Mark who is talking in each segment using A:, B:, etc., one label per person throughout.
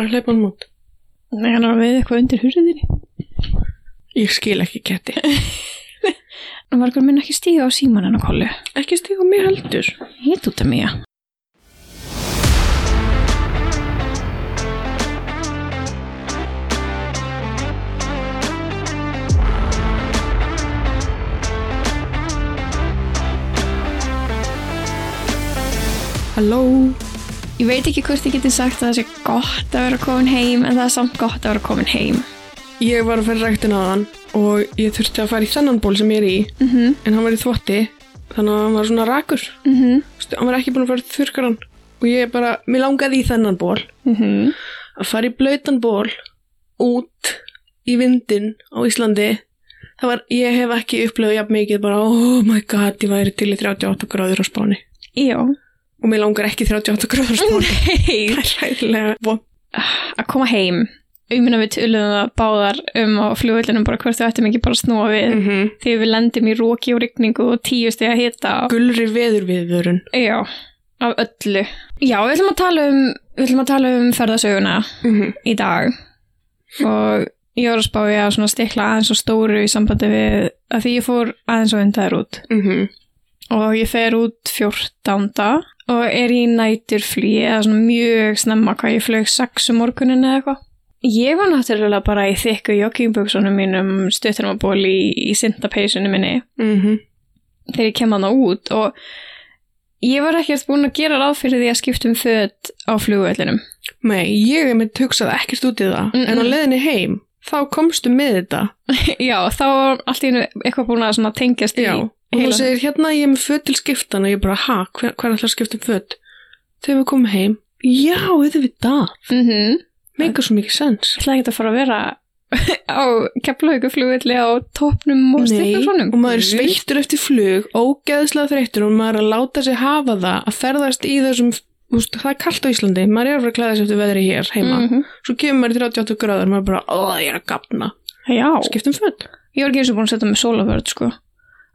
A: að hleypa hann út.
B: Þannig hann er að veið eitthvað undir hurðinni.
A: Ég skil ekki ketti.
B: Hann var ekki mun ekki stíga á síman hann og kollu.
A: Ekki stíg á mig heldur.
B: Hitt út af mía. Halló. Ég veit ekki hvort ég geti sagt að það sé gott að vera komin heim en það er samt gott að vera komin heim.
A: Ég var að fara ræktin að hann og ég þurfti að fara í þennan ból sem ég er í
B: Mhm, mm
A: en hann var í þvotti þannig að hann var svona rakur.
B: mhm, mm
A: Stu, hann var ekki búin að fara þurkar hann og ég bara, mér langaði í þennan ból
B: mhm.
A: að fara í blautan ból út í vindin á Íslandi það var, ég hef ekki upplöðu jafn mikið bara, oh my god, ég væri til í 38 gráður á spáni
B: Já.
A: og mér langar ekki í 38 gráður á spáni
B: Nei.
A: það er hægilega vond
B: Að koma heim. Ég minna við tölum það báðar um á flugvöldunum bara hvort þau ættum ekki bara að snúa við.
A: mm -hmm.
B: Þegar við lendum í róki og rigningu og tíu steg að hita.
A: gulri veður viðvörun
B: Já, af öllu. Já, við ætlum að tala um, við ætlum að tala um ferðasöguna
A: mm -hmm.
B: í dag. Og ég var að spá ég að svona stikla aðeins og stóru í sambandi við að því ég fór aðeins og undar út.
A: Mm -hmm.
B: og ég fer út 14. og er í næturflý eða svona mjög snemma hvað ég flög 6 um morgunin eða eitthvað. Ég var náttúrulega bara í þykku joggingbuksunum mínum stuttunum að bóli í, í syndapeysunum minni þegar ég kem hana út og ég var ekkert búin að gera ráð fyrir því að skipta um föt á flugvellinum.
A: Nei, ég hef með tugsað ekkert út í það
B: Mm-mm.
A: en á leiðinni heim, þá komstu með þetta
B: Já, þá var allt í hennu eitthvað búin að svona tengjast í.
A: Já, og þú
B: heila-
A: segir hérna ég er með föt til skiptan og ég bara, ha, hver, hver ætlar að skipta um föt? Þegar við komum heim, já, þetta við það,
B: Mhm.
A: meikar svo mikið sens.
B: Ég ætlaði ekki að fara að vera á keflaugu flugvelli á topnum og
A: Nei,
B: stikla svonum.
A: og maður er sveittur eftir flug, ógeðslega þreyttur og maður er að láta sig hafa það að ferðast í þessum, úst, það er kalt á Íslandi, maður er að fara að klæða sig eftir veðri hér heima.
B: -hmm.
A: Svo kemur maður í 38 gráður, maður er bara, ó, ég er að gapna,
B: Já,
A: skiptum föt.
B: ég var ekki eins og búin að setja með sólavörð sko.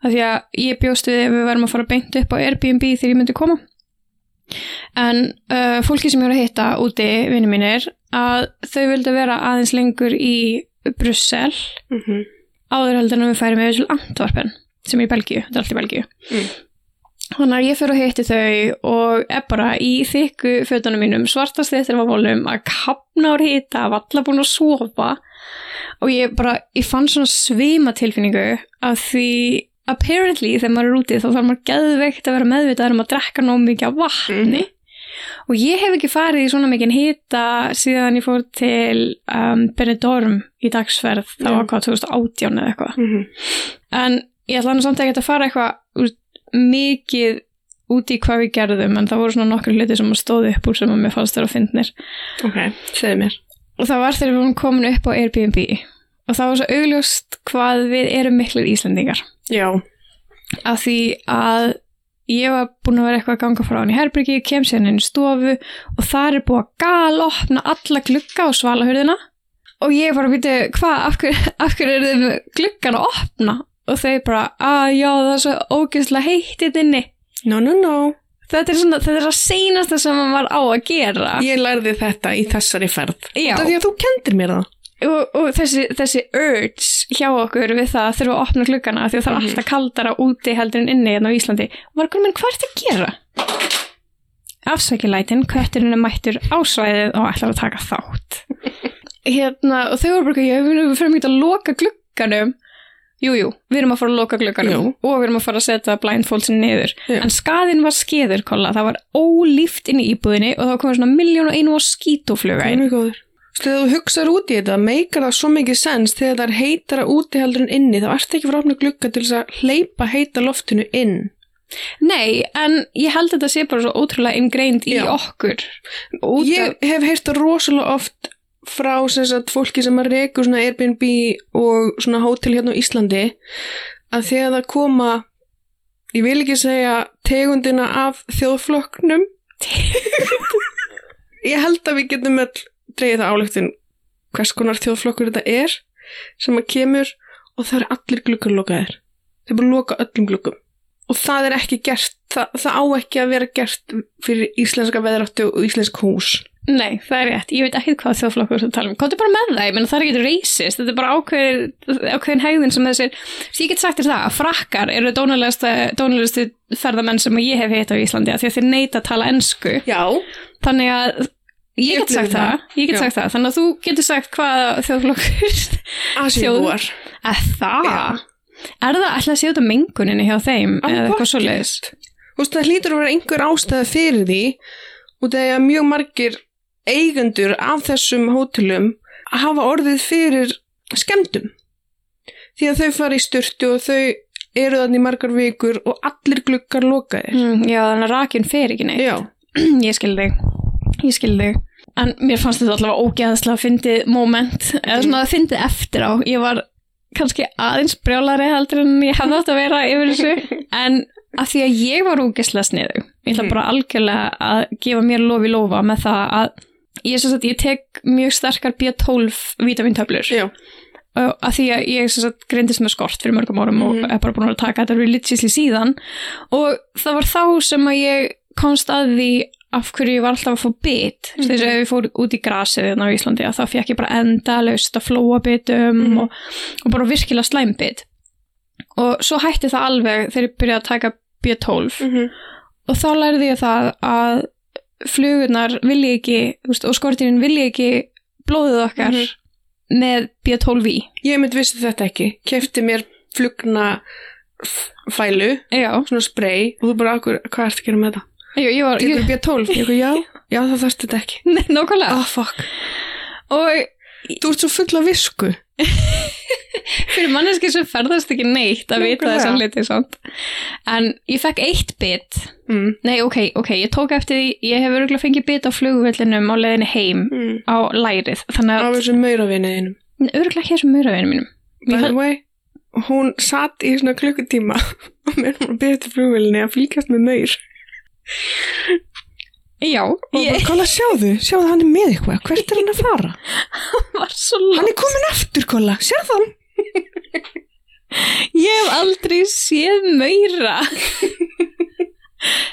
B: Af því að ég bjóst við ef við verðum að fara beint upp á Airbnb þegar ég myndi koma. En uh, fólki sem ég var að hitta úti, vinni mínir, að þau vildi vera aðeins lengur í Brussel
A: Mm -hmm.
B: áður heldur en við færum yfir til Antvarpen sem er í Belgíu, þetta er allt í Belgíu
A: Mm.
B: þannig að ég fyrir og hitti þau og er bara í þykku fötunum mínum svartast þetta var volum að kapna úr hita, var alla búin að sofa og ég bara, ég fann svona svima tilfinningu af því apparently þegar maður er úti þá þarf maður geðveikt að vera meðvitað um að drekka nóg mikið af vatni
A: Mhm.
B: og ég hef ekki farið í svona mikið hita síðan ég fór til um, Benidorm í dagsferð þá
A: Já.
B: var hvað 2018 eða eitthvað
A: mhm.
B: en ég ætla hann samt ekki að fara eitthvað úr, mikið út í hvað við gerðum en það voru svona nokkur hluti sem stóði upp úr sem að mér fannst þér að fyndnir
A: Ok, segðu mér.
B: og það var þegar við vorum komin upp á Airbnb og það var svo augljóst hvað við erum miklir Íslendingar
A: Já,
B: af því að ég var búin að vera eitthvað að ganga frá hann í herbyrgi, kem sér inn í stofu og þar er búið að gal opna alla glugga á svalahurðina og ég bara býti, hvað, af, hver, af hverju er þið með gluggan að opna? Og þau bara, að já, það er svo ógeðslega heittið inni.
A: no, no, no.
B: Þetta er svona, þetta er það seinasta sem maður var á að gera.
A: Ég lærði þetta í þessari ferð.
B: Ah. Já,
A: Það því að þú kendir mér það.
B: og, og þessi, þessi urge hjá okkur við það að þurfa að opna gluggana af því að það er
A: Mhm.
B: alltaf kaldara úti heldur en inni hérna á Íslandi. Margur minn, hvað ertu að gera? Afsækilætin, kötturinn er mættur á svæðið og ætlar að taka þátt. hérna, og þau voru bara, ég við fyrir mjög að loka glugganum. Jú, jú, við erum að fara að loka glugganum
A: Jú.
B: og við erum að fara að setja blindfoldsin niður.
A: Já.
B: En skaðin var skeður, kolla, það var ólíft inn í íbúðinni og það var komið svona miljón og einu á skítufluga
A: Guð
B: inn.
A: minn góður. Þú veist, þegar þú hugsaður út í þetta, meikar það svo mikið sens þegar það er heitara úti heldur en inni, þá ertu ekki frá opna glugga til þess að hleypa heita loftinu inn.
B: Nei, en ég held að þetta sé bara svo ótrúlega inngreind í
A: Já.
B: okkur. Út
A: Ég hef heyrt það rosalega oft frá þess að fólki sem að reku svona Airbnb og svona hótel hérna á Íslandi, að þegar það koma, ég vil ekki segja tegundina af þjóðflokknum. ég held að við getum öll dreigið það álöktin hvers konar þjóðflokkur þetta er sem að kemur og það eru allir gluggar lokaðir. Þeir bara loka öllum gluggum. Og það er ekki gert, það, það á ekki að vera gert fyrir íslenska veðráttu og íslensk hús.
B: Nei, það er rétt. Ég veit ekki hvað þjóðflokkur þú ert að tala um. Komdu bara með það, ég menna það er ekkert racist. Þetta er bara ákveðin, ákveðin hegðin sem þessir... Svo ég get sagt þér það að frakkar eru dónulegustu ferðamenn sem ég hef hitt á Íslandi af því að þeir neita að tala ensku.
A: Já.
B: Þannig að ég
A: Ég
B: get sagt
A: upplifði það.
B: það. Ég
A: Já.
B: get sagt það. Þannig að þú getur sagt hvaða þjóðflokkur...
A: Asjúar.
B: Eða það?
A: Já.
B: Er það alltaf að séu út á menguninni hjá þeim? Eða eitthvað svoleiðis?
A: Þú veist, það hlýtur að vera einhver ástæða fyrir því og það er að mjög margir eigendur af þessum hótelum hafa orðið fyrir skemmtum. Því að þau fara í styrtu og þau eru þannig margar vikur og allir gluggar lokaðir.
B: Mm, já, þannig að rakin fer ekki neitt.
A: Já,
B: ég skil þig, ég skil þig. En mér fannst þetta allavega ógeðslega fyndið moment, eða svona fyndið eftir á. Ég var kannski aðeins brjálari heldur en ég hefði átt að vera yfir þessu. En að því að ég var ógeðslega sniðu, ég ætla
A: Mhm.
B: bara algjörlega að gefa mér lofi lofa með það að ég, sem sagt, ég tek mjög sterkar B12 vítamintöflur
A: já,
B: uh, að því að ég sem sagt, greindist með skort fyrir mörgum árum
A: Mhm.
B: og er bara búin að taka þetta religiously síðan og það var þá sem að ég komst að því af hverju ég var alltaf að fá bit mm
A: Mhm.
B: -hmm. þess að ef ég fór út í grasið hérna á Íslandi að þá fekk ég bara enda laust að flóa bitum
A: Mhm.
B: og, og bara virkilega slæmbit og svo hætti það alveg þegar ég byrjaði að taka B12 og þá lærði ég það að flugurnar vilja ekki þú veist, og skortirinn vilja ekki blóðið okkar
A: Mhm.
B: með B12 í
A: ég mynd vissi þetta ekki. Kefti mér flugna f- fælu,
B: Já,
A: svona spray og þú bara akkur, hvað ertu að gera með það?
B: Jú, ég var,
A: Tekur
B: ég,
A: B12? Ég, eitthvað, já, já, það þarfst þetta ekki.
B: nei, nákvæmlega.
A: Ah, fuck.
B: Og
A: Þú ert svo full af visku.
B: fyrir manneski sem ferðast ekki neitt að vita
A: Nákvæmlega.
B: þess að liti samt. En ég fekk eitt bit.
A: Mm.
B: Nei, ok, ok, ég tók eftir því, ég hef örgulega fengið bit á flugvellinum á leiðinni heim
A: Mm.
B: á lærið. Þannig
A: af
B: að
A: þessum mauravinniðinum.
B: örgulega hér sem mjöraðinu mínum.
A: By
B: Ég
A: the way, hún satt í svona klukkutíma og mér var að byrja til flugvölinni að fylgjast með maur
B: Já,
A: og
B: ég
A: bara kolla sjáðu, sjáðu hann er með eitthvað, hvert er hann að fara?
B: var svo
A: Hann
B: langt.
A: er komin aftur kolla, sjáðu hann?
B: Ég hef aldrei séð mjöra.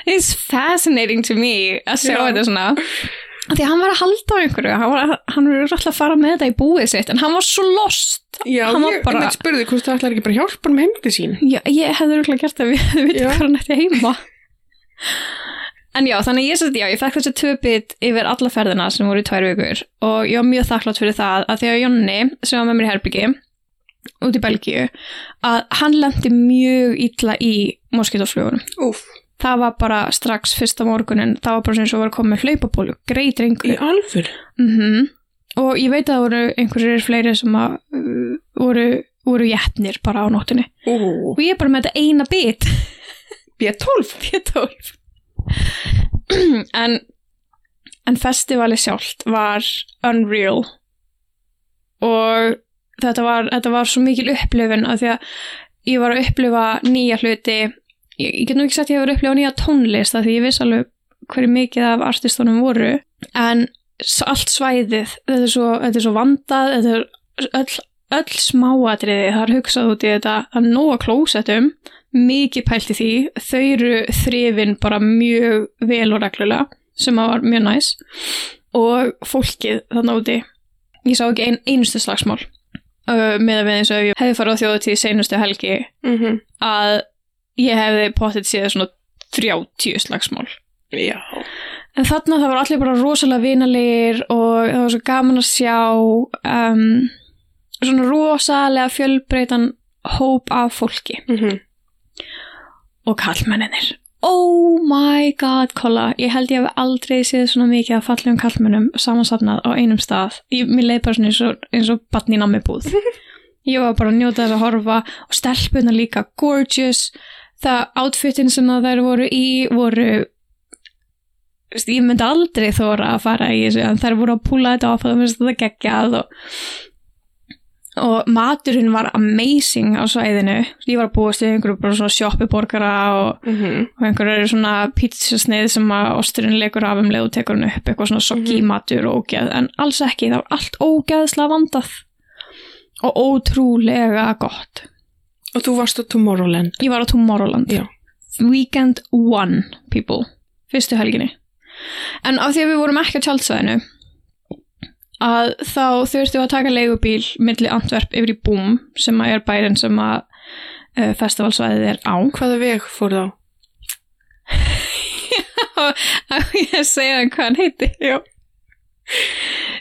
B: It's fascinating to me að sjá
A: Já.
B: þetta svona. Af Því að hann var að halda á einhverju, hann var, hann var alltaf að fara með þetta í búið sitt, en hann var svo lost.
A: Já,
B: Hann var
A: ég
B: bara-
A: bara... spurði hvort það ætlar ekki bara að hjálpa hann með heimdi sín.
B: Já, ég hefði rúglega gert það, við hefði vitað
A: Já.
B: hvað hann ætti heima. En já, þannig að ég sett, já, ég fekk þessi tvö bit yfir alla ferðina sem voru í tvær vikur og ég var mjög þakklátt fyrir það að því að Jonni, sem var með mér í herbyggi, út í Belgíu, að hann lendi mjög illa í moskítoflugunum.
A: Úf,
B: Það var bara strax fyrsta morgunin, það var bara sem svo var að koma með hlaupabólu, greit rengur.
A: í alvör.
B: -hmm. Og ég veit að það voru einhverjir fleiri sem að, uh, voru, voru jætnir bara á nóttinni.
A: Ú,
B: Og ég er bara með þetta eina bit,
A: B12.
B: B12. en, en festivali sjálft var unreal. Og þetta var, þetta var svo mikil upplifun af því að ég var að upplifa nýja hluti. Ég, ég get nú ekki sagt ég hefur upplifað nýja tónlist af því ég viss alveg hverju mikið af artistunum voru. En s- allt svæðið, þetta er svo, þetta er svo vandað, þetta er öll, öll smáatriði, það er hugsað út í þetta, það er nóga klósettum, mikið pælt í því, þau eru þrifin bara mjög vel og reglulega, sem að var mjög næs, og fólkið þarna úti, ég sá ekki ein, einustu slagsmál, uh, með að við eins og ef ég hefði farið á þjóðutíð seinustu helgi,
A: Mm
B: að ég hefði pottet síðan svona 30 slagsmál.
A: Já.
B: En þarna það var allir bara rosalega vinalegir og það var svo gaman að sjá um, svona rosalega fjölbreytan hóp af fólki
A: Mm -hmm.
B: og kallmenninir. Oh my god, kolla, ég held ég hef aldrei séð svona mikið af fallegum kallmennum samansafnað á einum stað. Ég, mér leið bara svona eins og, eins og batn í nammibúð. Ég var bara að njóta þess að horfa og stelpuna líka gorgeous. Það outfitin sem það þær voru í voru Þú veist, ég myndi aldrei þóra að fara í þessu en þær voru að púla þetta af það finnst þetta geggjað og, og maturinn var amazing á svæðinu ég var að búast í einhverju bara svona sjoppuborgara og,
A: Mm -hmm.
B: og einhverju svona pítsasneið sem að osturinn leikur af um leið og tekur hann upp eitthvað svona soggi
A: Mhm.
B: matur og ógeð en alls ekki, það var allt ógeðslega vandað og ótrúlega gott
A: Og þú varst á Tomorrowland.
B: ég var á Tomorrowland
A: Já.
B: Weekend One, people fyrstu helginni En af því að við vorum ekki á tjaldsvæðinu að þá þurftum við að taka leigubíl milli Antwerp yfir í Búm sem að er bærin sem að uh, festivalsvæðið er á.
A: Hvaða veg fór þá?
B: Á ég að segja hann hvað hann heiti?
A: Já.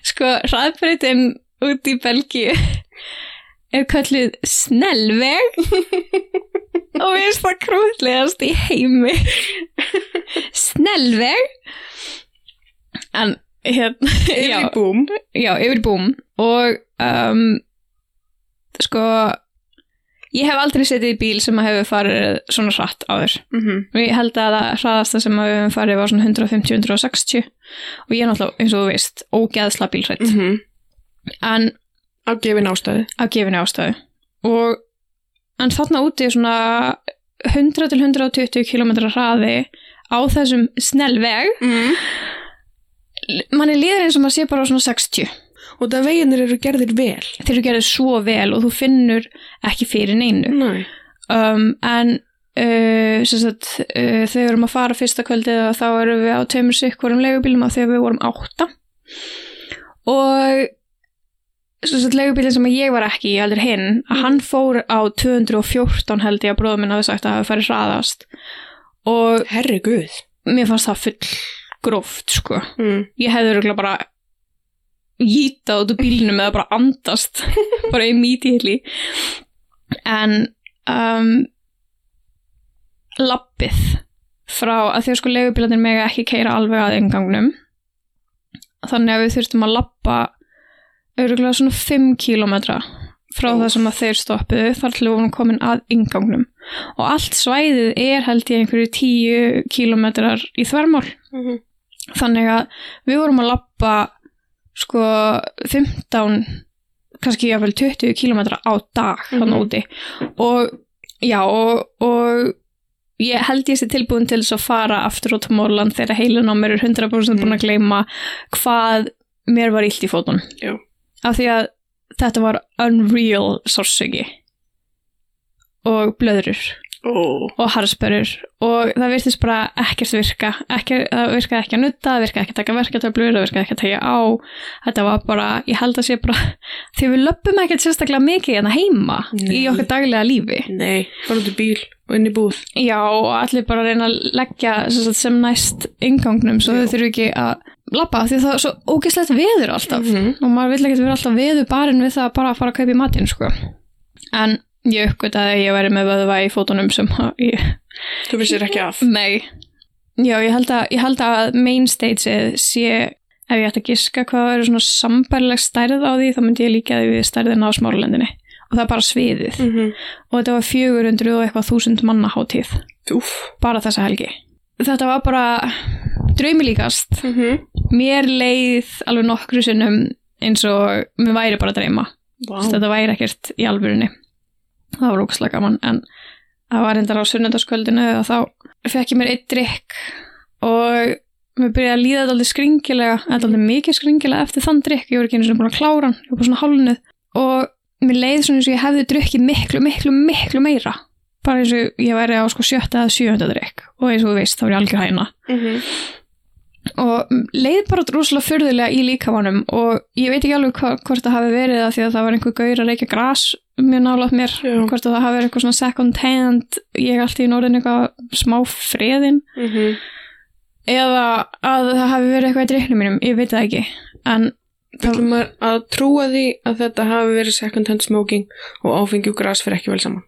B: Sko, hraðbreytin út í Belgíu er kallið Snellveg og við erum það krúðlegast í heimi. Snellveg en hérna, já,
A: Yfir í búm.
B: já, yfir í búm og um, sko ég hef aldrei setið í bíl sem að hefur farið svona hratt áður.
A: Mm
B: Ég held að það hraðasta sem að við höfum farið var svona 150-160 og ég er náttúrulega, eins og þú veist, ógeðsla bílrætt.
A: -hmm.
B: En
A: Á gefin ástæði.
B: af gefinni ástæðu og en þarna úti er svona 100 til 120 km hraði á þessum snell veg
A: Mm.
B: manni líður eins og maður sé bara á svona 60
A: Og það veginir eru gerðir vel.
B: þegar þú gerir svo vel og þú finnur ekki fyrir neinu
A: Næ.
B: um, en uh, sem sagt, uh, þegar við erum að fara fyrsta kvöldið og þá erum við á tveimur sikkvorum leigubílum af því að við vorum átta og sem sagt, leigubílinn sem ég var ekki í aldrei hinn, að hann fór á 214 held ég að bróðum minn hafi sagt að það hafi farið hraðast og
A: Herri guð.
B: mér fannst það full gróft sko
A: Mm.
B: ég hefði örgulega bara jítað út úr bílnum eða bara andast bara í mítihili en um, lappið frá að því að sko leigubílarnir mega ekki keira alveg að engangnum þannig að við þurftum að lappa örgulega svona 5 kilometra frá
A: Úff.
B: það sem að þeir stoppuðu þar til við vorum komin að ingangnum og allt svæðið er held ég einhverju 10 kilometrar í þvermál
A: Mm -hmm.
B: þannig að við vorum að lappa sko 15 kannski jáfnvel 20 km á dag mm
A: Mhm.
B: úti og já og, og ég held ég sé tilbúin til þess að fara aftur út á Mórland þegar heilin á mér er 100% búin að gleyma hvað mér var illt í fótun
A: Já.
B: af því að þetta var unreal sársöki og blöðrur
A: Ó.
B: og harspörur og það virtist bara ekkert virka ekki, það virkaði ekki að nutta, það virkaði ekki að taka verkatöflur það virkaði ekki að tegja á þetta var bara, ég held að sé bara því við löpum ekkert sérstaklega mikið hérna heima í
A: Nei.
B: okkar daglega lífi
A: Nei. Bara út í bíl og inn í búð.
B: já og allir bara reyna að leggja sem, sagt, sem næst ingangnum svo
A: Já.
B: þau þurfum ekki að labba því það er svo ógeðslegt veður alltaf
A: -hmm.
B: og maður vill ekkert vera alltaf veður barinn við það bara að fara að kaupa í matinn sko. en ég uppgötaði að ég væri með vöðva í fótunum sem að ég
A: Þú vissir ekki af.
B: Nei. Já, ég held að, ég held að main stageið sé, ef ég ætti að giska hvað eru svona sambærileg stærð á því, þá myndi ég líka því við stærðina á smáralendinni. Og það er bara sviðið.
A: Mm -hmm.
B: Og þetta var 400 og eitthvað þúsund manna hátíð.
A: Úf.
B: Bara þessa helgi. Þetta var bara draumilíkast.
A: Mm -hmm.
B: Mér leið alveg nokkru sinnum eins og mér væri bara að dreyma.
A: Vá.
B: Wow. Þetta væri ekkert í alvörunni. Það var ógslag gaman, en það var endar á sunnundaskvöldinu og þá fekk ég mér eitt drikk og mér byrjaði að líða þetta aldrei skringilega, þetta aldrei mikið skringilega eftir þann drikk, ég voru ekki einu svona búin að klára hann, ég var bara svona hálnuð og mér leið svona eins og ég hefði drukkið miklu, miklu, miklu meira. Bara eins og ég væri á sko sjötta eða sjöfunda drikk og eins og þú veist, þá var ég algjör hæna
A: Mm -hmm.
B: og leið bara rosalega fyrðulega í líkamanum og ég veit ekki alveg hva, hvort það hafi verið að því að það var einhver gaur að reykja gras mjög nálaðt mér,
A: Já.
B: hvort að það hafi verið eitthvað svona second hand, ég allt í norðin eitthvað smá freðin
A: Mm -hmm.
B: eða að það hafi verið eitthvað í dreiknum mínum, ég veit það ekki en
A: Það maður að trúa því að þetta hafi verið second hand smoking og áfengi og gras fyrir ekki vel saman.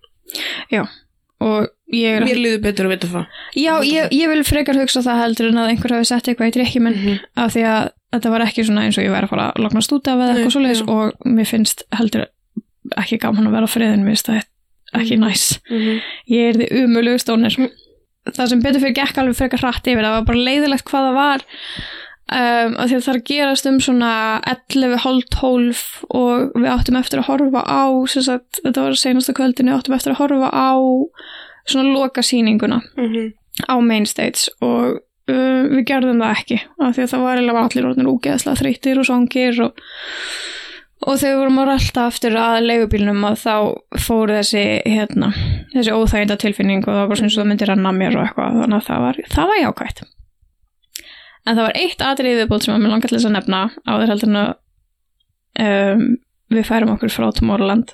B: og ég er
A: Mér líður betur að vita það.
B: já, ég, ég vil frekar hugsa það heldur en að einhver hafi sett eitthvað í dreikjum minn
A: -hmm.
B: af því að þetta var ekki svona eins og ég væri að fara að loknast út af eða
A: Nei,
B: eitthvað svoleiðis
A: já.
B: og mér finnst heldur ekki gaman að vera á friðin, mér finnst það ekki næs.
A: Mm -hmm.
B: Ég er þið umulug stónir. Það sem betur fyrir gekk alveg frekar hratt yfir, það var bara leiðilegt hvað það var um, að því að það er að gerast um svona 11, hálf 12 og við áttum eftir að horfa á, sem sagt, þetta var senasta kvöldinu, áttum eftir að horfa á svona loka sýninguna
A: Mm -hmm.
B: á main stage og uh, við gerðum það ekki af því að það var eiginlega bara allir orðnir úgeðslega þreyttir og svangir og, og þegar við vorum að rölda aftur að leigubílnum að þá fór þessi hérna, þessi óþæginda tilfinning og það var bara svona eins og það myndi ranna af mér og eitthvað þannig að það var, það var jákvætt En það var eitt atriði viðbót sem að mér langar til þess að nefna áður heldur en að um, við færum okkur frá Tomorrowland.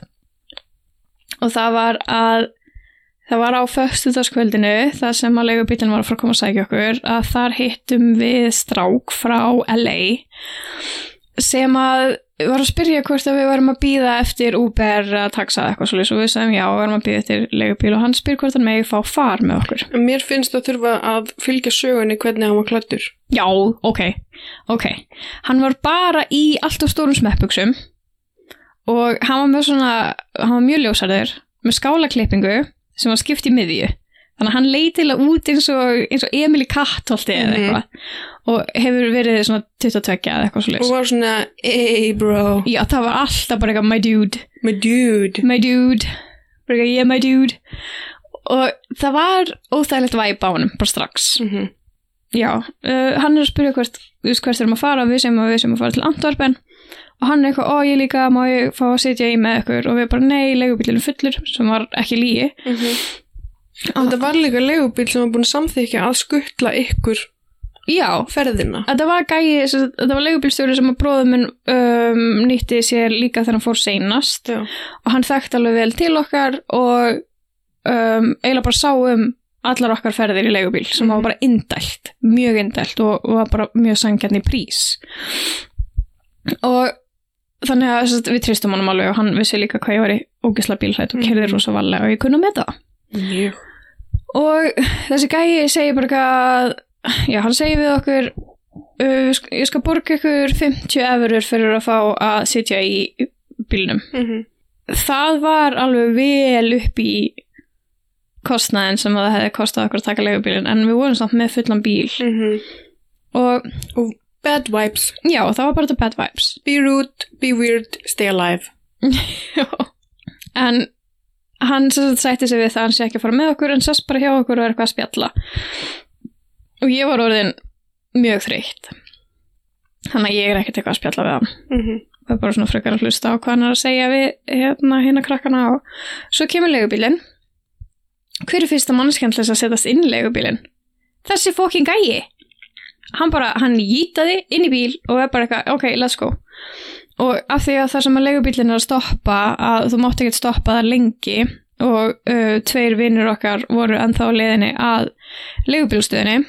B: Og það var að það var á föstudagskvöldinu þar sem að leigubílinn var að fara að koma að sækja okkur að þar hittum við strák frá LA sem að var að spyrja hvort að við varum að býða eftir Uber að taxa eða eitthvað svolítið og við sagðum já, við varum að býða eftir leigubíl og hann spyr hvort hann megi fá far með okkur.
A: En Mér finnst að þurfa að fylgja sögunni hvernig hann var klættur.
B: Já, ok, ok. Hann var bara í allt of stórum smeppuksum og hann var með svona, hann var mjög ljósarður með skálaklippingu sem var skipt í miðju. Þannig að hann leitilega út eins og, eins og Emil í kattholti eða
A: Mhm.
B: eitthvað og hefur verið svona 22 eða eitthvað svo
A: Og var svona, ey bro,
B: Já, það var alltaf bara eitthvað my dude,
A: my dude.
B: my dude, bara eitthvað yeah my dude og það var óþægilegt væp á honum bara strax.
A: Mm -hmm.
B: Já, uh, hann er að spyrja hvert, þú veist, hvert erum að fara, við sem að við sem að fara til Antwerpen og hann er eitthvað, ó ég líka, má ég fá að sitja í með ykkur og við bara, nei, leigubílunum fullur sem var ekki lígi.
A: Þetta Mhm. var líka legubíl sem var búin að samþykja að skuttla ykkur
B: Já,
A: ferðina.
B: þetta var gæi, sem sagt, þetta var leigubílstjóri sem að bróðum minn um, nýtti sér líka þegar hann fór seinast
A: Já.
B: og hann þekkt alveg vel til okkar og um, eiginlega bara sá um allar okkar ferðir í leigubíl sem
A: Mhm.
B: var bara indælt, mjög indælt og, og var bara mjög sangjarni prís og þannig að þess að við tristum honum alveg og hann vissi líka hvað ég var í ógisla bílhætt og
A: Mhm.
B: kerði rosa valega og ég kunna með það
A: Mjög.
B: og þessi gæi segir bara eitthvað að já, hann segir við okkur uh, sk- ég skal borga ykkur 50 efurur fyrir að fá að sitja í bílnum
A: Mm -hmm.
B: það var alveg vel upp í kostnaðin sem að það hefði kostað okkur að taka leigubílinn en við vorum samt með fullan bíl og
A: mhm. Bad vibes.
B: já, það var bara þetta bad vibes
A: Be rude, be weird, stay alive.
B: en hann sem sagt sætti sig við það að hann sé ekki að fara með okkur en sess bara hjá okkur og er eitthvað að spjalla og ég var orðin mjög þreytt þannig að ég er ekkert eitthvað að spjalla við hann
A: Mm -hmm.
B: og bara svona frekar að hlusta á hvað hann er að segja við hérna hérna krakkana og svo kemur leigubílinn hver er fyrsta manneskjan til þess að setjast inn í leigubílinn? Þessi fókin gæi hann bara, hann jýtaði inn í bíl og er bara eitthvað, ok, let's go og af því að það sem að leigubílinn er að stoppa að þú mátt ekkert stoppa það lengi og uh, tveir vinnur okkar voru ennþá á leiðinni að leigubílstöðinni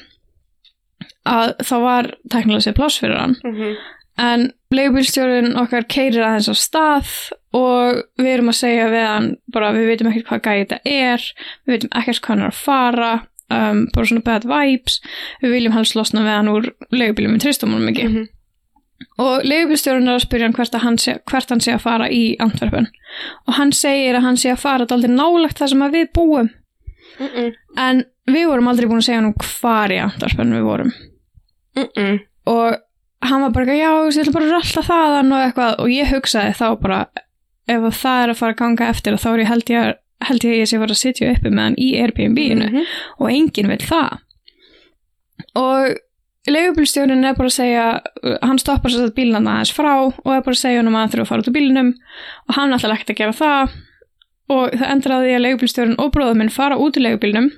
B: að þá var teknilega sér pláss fyrir hann
A: Mm
B: en leigubílstjórin okkar keirir aðeins á stað og við erum að segja við hann bara við veitum ekkert hvað gæði þetta er við veitum ekkert hvað hann er að fara um, bara svona bad vibes við viljum helst losna við hann úr leigubílum við tristum honum ekki
A: Mhm.
B: og leigubílstjórin er að spyrja hann hvert, að hann sé, hvert hann sé að fara í Antwerpen og hann segir að hann sé að fara daldið nálagt það sem að við búum
A: Mm -mm.
B: en við vorum aldrei búin að segja hann hvar í Antwerpen við vorum
A: Mm -mm.
B: og hann var bara eitthvað, já, ég ætla bara að ralla þaðan og eitthvað og ég hugsaði þá bara ef að það er að fara að ganga eftir þá er ég held ég, held ég að ég sé að fara að sitja uppi með hann í Airbnb-inu
A: Mhm.
B: og enginn vil það og leigubílstjórinn er bara að segja hann stoppar sér að bílnana aðeins frá og er bara að segja honum að hann þurfa að fara út úr bílnum og hann ætlar ekkert að gera það og það endur að því að leigubílstjórinn og bróðum minn fara út úr leigubílnum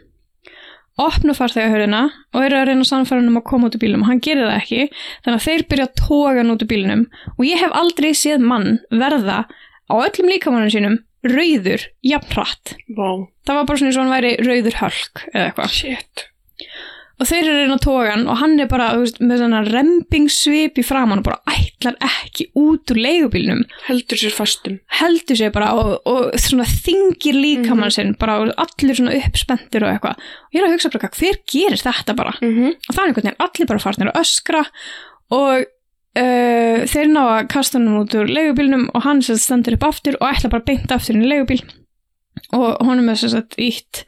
B: opna farþegahörðina og eru að reyna að sannfæra hann um að koma út úr bílnum hann gerir það ekki, þannig að þeir byrja að toga hann út úr bílnum og ég hef aldrei séð mann verða á öllum líkamannum sínum rauður jafn hratt
A: Vá.
B: það var bara svona eins og hann væri rauður hölk eða eitthvað
A: Shit.
B: og þeir eru inn á tógan og hann er bara þú veist, með svona rempingsvip í framann og bara ætlar ekki út úr leigubílnum
A: Heldur sér fastum.
B: heldur sér bara og, og svona þingir líkamann sinn bara og allir svona uppspendur og eitthvað og ég er að hugsa bara hvað, hver gerir þetta bara
A: Mm -hmm.
B: og það er einhvern veginn allir bara farnir að öskra og uh, þeir ná að kasta hann út úr leigubílnum og hann sem sagt stendur upp aftur og ætla bara beint aftur inn í leigubíl og honum er sem sagt ítt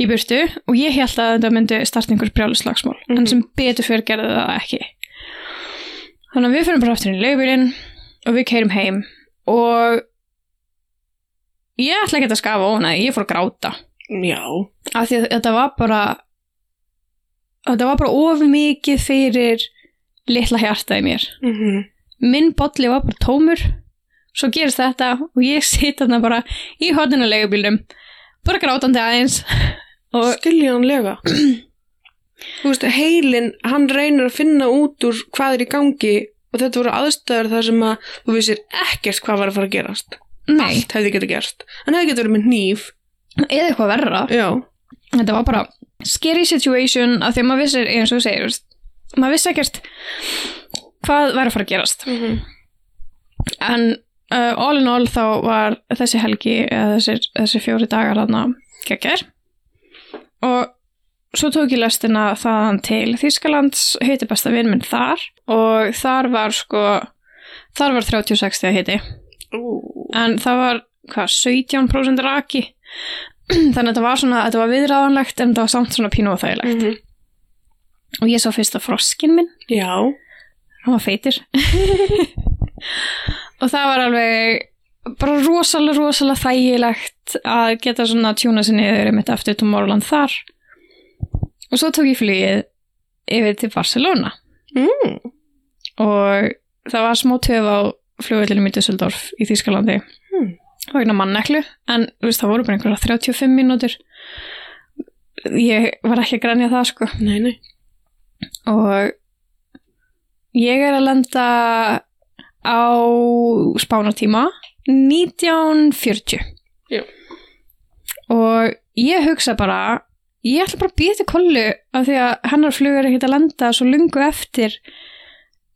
B: í burtu og ég held að þetta myndi starta einhver brjálu slagsmál en
A: Mhm.
B: sem betur fyrir gerði það ekki þannig að við fyrir bara aftur inn í leigubílinn og við keirum heim og ég ætla ekki að skafa ofna ég fór að gráta
A: Já.
B: af því að þetta var bara þetta var bara of mikið fyrir litla hjarta í mér
A: Mm -hmm.
B: minn bolli var bara tómur svo gerist þetta og ég sit þarna bara í hodninu leigubílnum bara grátandi aðeins og
A: Skiljanlega. þú veist, heilin, hann reynir að finna út úr hvað er í gangi og þetta voru aðstæður þar sem að þú vissir ekkert hvað var að fara að gerast
B: Nei,
A: allt hefði getur gerst, hann hefði getur verið með nýf
B: eða eitthvað verra.
A: já,
B: Þetta var bara scary situation að því að maður vissir eins og þú segir, veist, maður vissi ekkert hvað væri að fara að gerast. En uh, all in all þá var þessi helgi, eða þessir, þessir fjóri dagar hann að geggjær. Og svo tók ég lestina þaðan til Þýskalands, heiti besta vinn minn þar og þar var sko, þar var 36 þegar heiti
A: Ú,
B: en það var hvað, 17% raki þannig að þetta var svona þetta var viðræðanlegt en þetta var samt svona pínu óþægilegt
A: mhm.
B: og ég sá fyrst að froskin minn,
A: já
B: hann var feitir og það var alveg bara rosalega, rosalega þægilegt að geta svona tjúna sinni yfir mitt eftir Tomorrowland þar og svo tók ég flugið yfir til Barcelona
A: mm.
B: og það var smá töf á flugvöllinu í Düsseldorf í Þýskalandi
A: Hmm.
B: vegna manneklu en þú veist, það voru bara einhverja 35 mínútur ég var ekki að grænja það sko
A: nei, nei
B: og ég er að lenda á spánatíma 1940
A: Já.
B: og ég hugsa bara ég ætla bara að býta kollu af því að hennar flug er ekkert að landa svo lungu eftir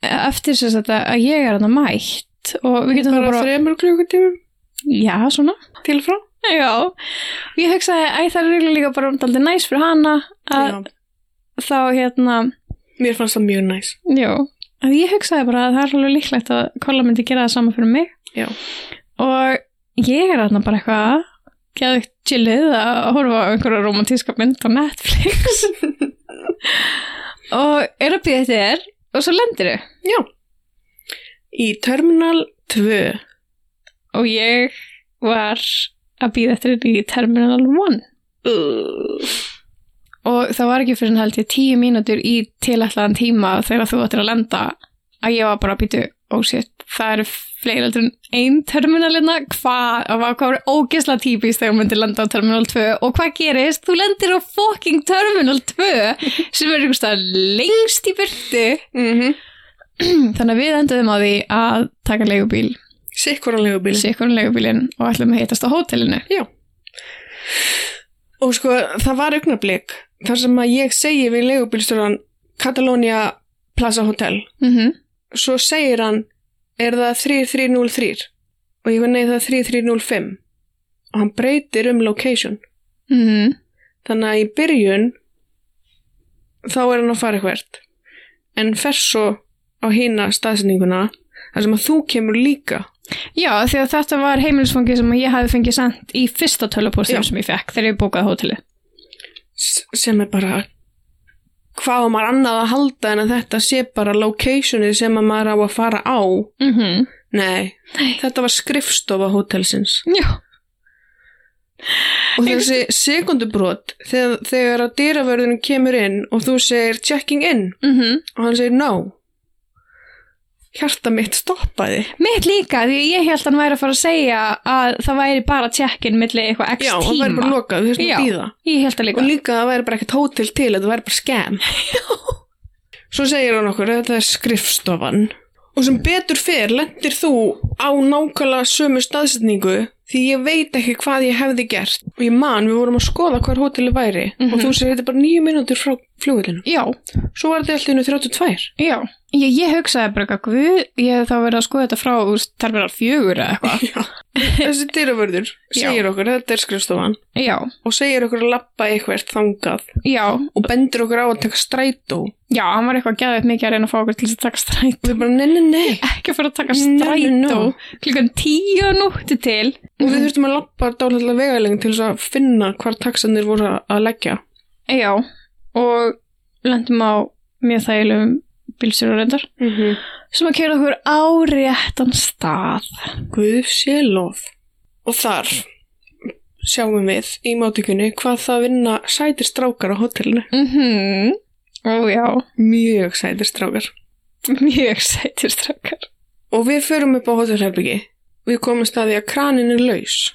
B: eftir sem þetta að ég er hann að mætt og við getum
A: bara,
B: það bara,
A: þremur klukkutímum
B: já svona
A: til frá
B: já, og ég hugsaði æ það er örugglega líka bara um daldið næs fyrir hana að
A: já.
B: þá hérna
A: mér fannst það mjög næs
B: Já, að ég hugsaði bara að það er alveg líklegt að Kolla myndi gera það sama fyrir mig.
A: Já.
B: Og ég er aðna bara eitthvað geðvægt chillið að horfa á einhverja romantíska mynd á Netflix og er að býða þetta þér og svo lendir þau.
A: já í Terminal 2
B: Og ég var að býða eftir þér í Terminal 1
A: uh.
B: og það var ekki fyrir held ég tíu mínútur í tilallan tíma þegar þú ættir að lenda að ég var bara að býtu ósétt, það eru fleiri heldur en ein terminalina, hvað það var hvað verið ógesla típist þegar þú myndir landa á terminal 2 og hvað gerist? Þú lendir á fucking terminal 2 sem er einhvers staðar lengst í byrtu
A: mm
B: Mhm.
A: -hmm.
B: þannig að við enduðum á því að taka leigubíl,
A: sikkuranlegu bíl
B: sikkurinn leigubílinn og ætlum að hittast á hótelinu
A: Og sko, það var augnablik þar sem að ég segi við leigubílstjóran Catalonia Plaza Hotel.
B: mm -hmm.
A: Svo segir hann, er það 3303? Og ég var nei, það er 3305. Og hann breytir um location.
B: Mm -hmm.
A: Þannig að í byrjun, þá er hann að fara eitthvert. En fer svo á hína staðsendinguna, þar sem að þú kemur líka.
B: Já, því að þetta var heimilisfangi sem ég hafi fengið sendt í fyrsta tölupóstum
A: Já.
B: sem ég fekk þegar ég bókaði hóteli.
A: S- sem er bara hvað á maður annað að halda en að þetta sé bara locationið sem að maður á að fara á
B: Mm
A: Mhm.
B: -hmm.
A: nei, þetta var skrifstofa hótelsins
B: Já.
A: og þessi sekundubrot þegar, þegar að dyravörðinu kemur inn og þú segir checking in
B: Mm
A: og hann segir no hjarta mitt stoppaði
B: Mitt líka, því ég held að hann væri að fara að segja að það væri bara tjekkin milli eitthvað x
A: já, hann
B: tíma.
A: væri bara lokað, þú þessum
B: Já.
A: að býða
B: Ég held að líka.
A: og líka að það væri bara ekkert hótel til þetta væri bara skem svo segir hann okkur að þetta er skrifstofan og sem betur fer lendir þú á nákvæmlega sömu staðsetningu því ég veit ekki hvað ég hefði gert og ég man við vorum að skoða hvar hóteli væri
B: Mhm.
A: og þú segir þetta er bara nýju mínútur frá flugvillinu
B: Já,
A: svo um var þetta alltaf innu 32
B: já. Ég, ég hugsaði bara eitthvað, guð, ég hef þá verið að skoða þetta frá úr terminal fjögur eða eitthvað.
A: þessi dyraförður segir okkur að þetta er skrifstofan
B: já,
A: og segir okkur að lappa eitthvert þangað
B: já,
A: og bendir okkur á að taka strætó og
B: já, hann var eitthvað geðið mikið að reyna að fá okkur til þess að taka stræt.
A: við bara nei, nei, nei
B: Ekki að fara að taka
A: Nei,
B: strætó
A: nei, nei.
B: klukkan tíu að nóttu til.
A: og við þurftum að lappa dálitlega vegaleng til þess að finna hvar taxanir voru að leggja
B: Já, og lendum á mjög þægilegum bílstjórarendar
A: mm -hmm.
B: sem að kjöra okkur á réttan stað.
A: Guð sé lof og þar sjáum við í mátíkunni hvað það vinna sætir strákar á hótelinu
B: Mhm, Ó já,
A: mjög sætir strákar
B: mjög sætir strákar.
A: og við förum upp á hótelherbyggi við komumst að því að kranin er laus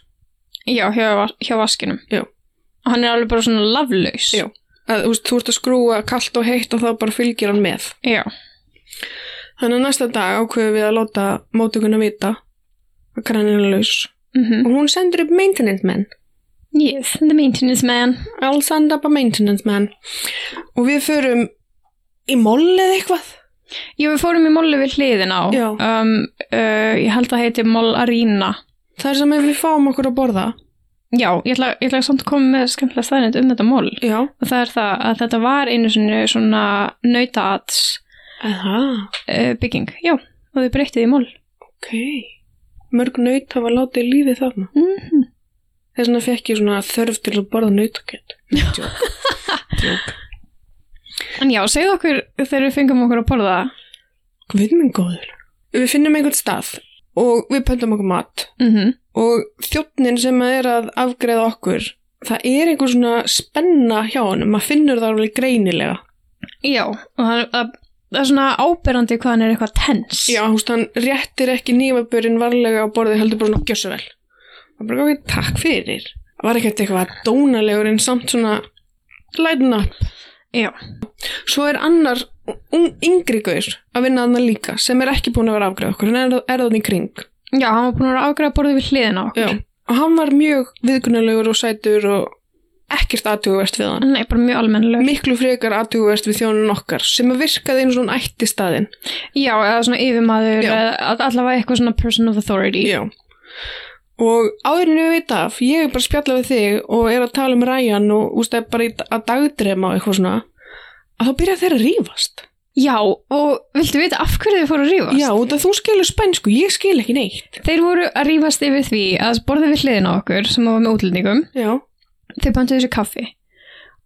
B: Já, hjá, hjá vaskinum.
A: Já.
B: Og hann er alveg bara svona laflaus.
A: Já. að, þú, veist, þú ert að skrúa kalt og heitt og þá bara fylgir hann með
B: Já,
A: þannig að næsta dag ákveðum við að láta mótuguna vita að kraninn er laus
B: mm
A: og hún sendur upp maintenance menn
B: yes, the maintenance man.
A: I'll send up a maintenance man og við förum í moll eða eitthvað
B: Jú, við fórum í mollu við hliðin á.
A: Já.
B: Um, uh, ég held að heiti Moll Arena.
A: það er sem ef við fáum okkur að borða
B: Já, ég ætla, ég ætla samt að koma með skemmtilega staðnind um þetta moll.
A: já,
B: Og það er það að þetta var einu sinni svona nautaats
A: eða, Eh,
B: uh, bygging. Já, og þau breyttið í moll.
A: ok mörg naut hafa látið lífið þarna
B: Mm
A: þess vegna fekk ég svona þörf til að borða nautakjöld Jók. Jók.
B: En já, segðu okkur þegar við fengum okkur að borða.
A: Guð minn góður við finnum einhvern stað og við pöntum okkur mat
B: Mm
A: og þjóttnin sem er að afgreða okkur það er einhver svona spenna hjá honum maður finnur það alveg greinilega
B: Já, og það, það, það er svona áberandi hvað hann er eitthvað tens.
A: já, húst, hann réttir ekki nýfabörin varlega á borðið heldur bara svona gjössu vel það bara okkur takk fyrir það var ekkert eitthvað dónalegur en samt svona lighten up
B: Já.
A: Svo er annar un, yngri gaur að vinna hann líka sem er ekki búin að vera afgreð okkur, hann er, er þannig kring.
B: Já, hann var búin að ágræða borðið við hliðina á okkur.
A: Já. Og hann var mjög viðkunnulegur og sætur og ekkert aðtuguvert við hann.
B: Nei, bara mjög almennileg.
A: Miklu frekar aðtuguvert við þjónun okkar sem að virkaði eins og hann ætti staðinn.
B: Já, eða svona yfirmaður,
A: Já.
B: eða all- allavega eitthvað svona person of authority.
A: Já. Og áðurinn við veit af, ég er bara að spjalla við þig og er að tala um Ryan og úst, er bara í, að dagdrema og eitthvað svona, að þá byrja þeir að rífast.
B: Já, og viltu vita af hverju þau fóru að rífast?
A: Já, út að þú skilur spænsku, ég skil ekki neitt.
B: Þeir voru að rífast yfir því að borðið við hliðina á okkur sem var með útlendingum.
A: Já.
B: Þau bantuðu sér kaffi.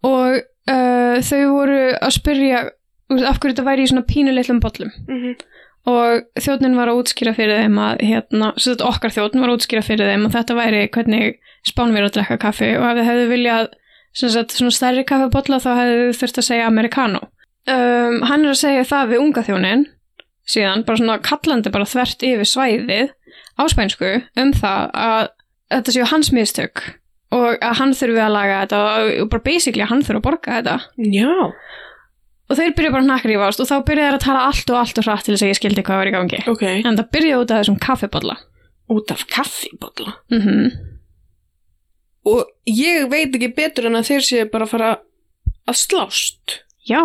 B: Og uh, þau voru að spyrja þú veist, af hverju þetta væri í svona pínulitlum bollum.
A: Mm -hmm.
B: og þjóðnin var að útskýra fyrir þeim að hérna, sem sagt okkar þjóðnin var að útskýra fyrir þeim að þetta væri hvernig spánum við að drekka kaffi og ef þið hefðu viljað sem sagt svona stærri kaffibotla þá hefðu þið þurft að segja americano um, hann er að segja það við unga þjónin síðan, bara svona kallandi bara þvert yfir svæðið á spænsku um það að þetta séu hans mistök og að hann þurfi að laga þetta og bara basically að hann þurfi að borga þetta
A: Já.
B: og þeir byrja bara að nakrífast og þá byrja þeir að tala allt og allt og hratt til þess að ég skildi hvað var í gangi
A: Ok.
B: En það byrjaði út af þessum kaffiballa.
A: út af kaffibotla
B: Mm
A: og ég veit ekki betur en að þeir séu bara að fara að slást
B: Já.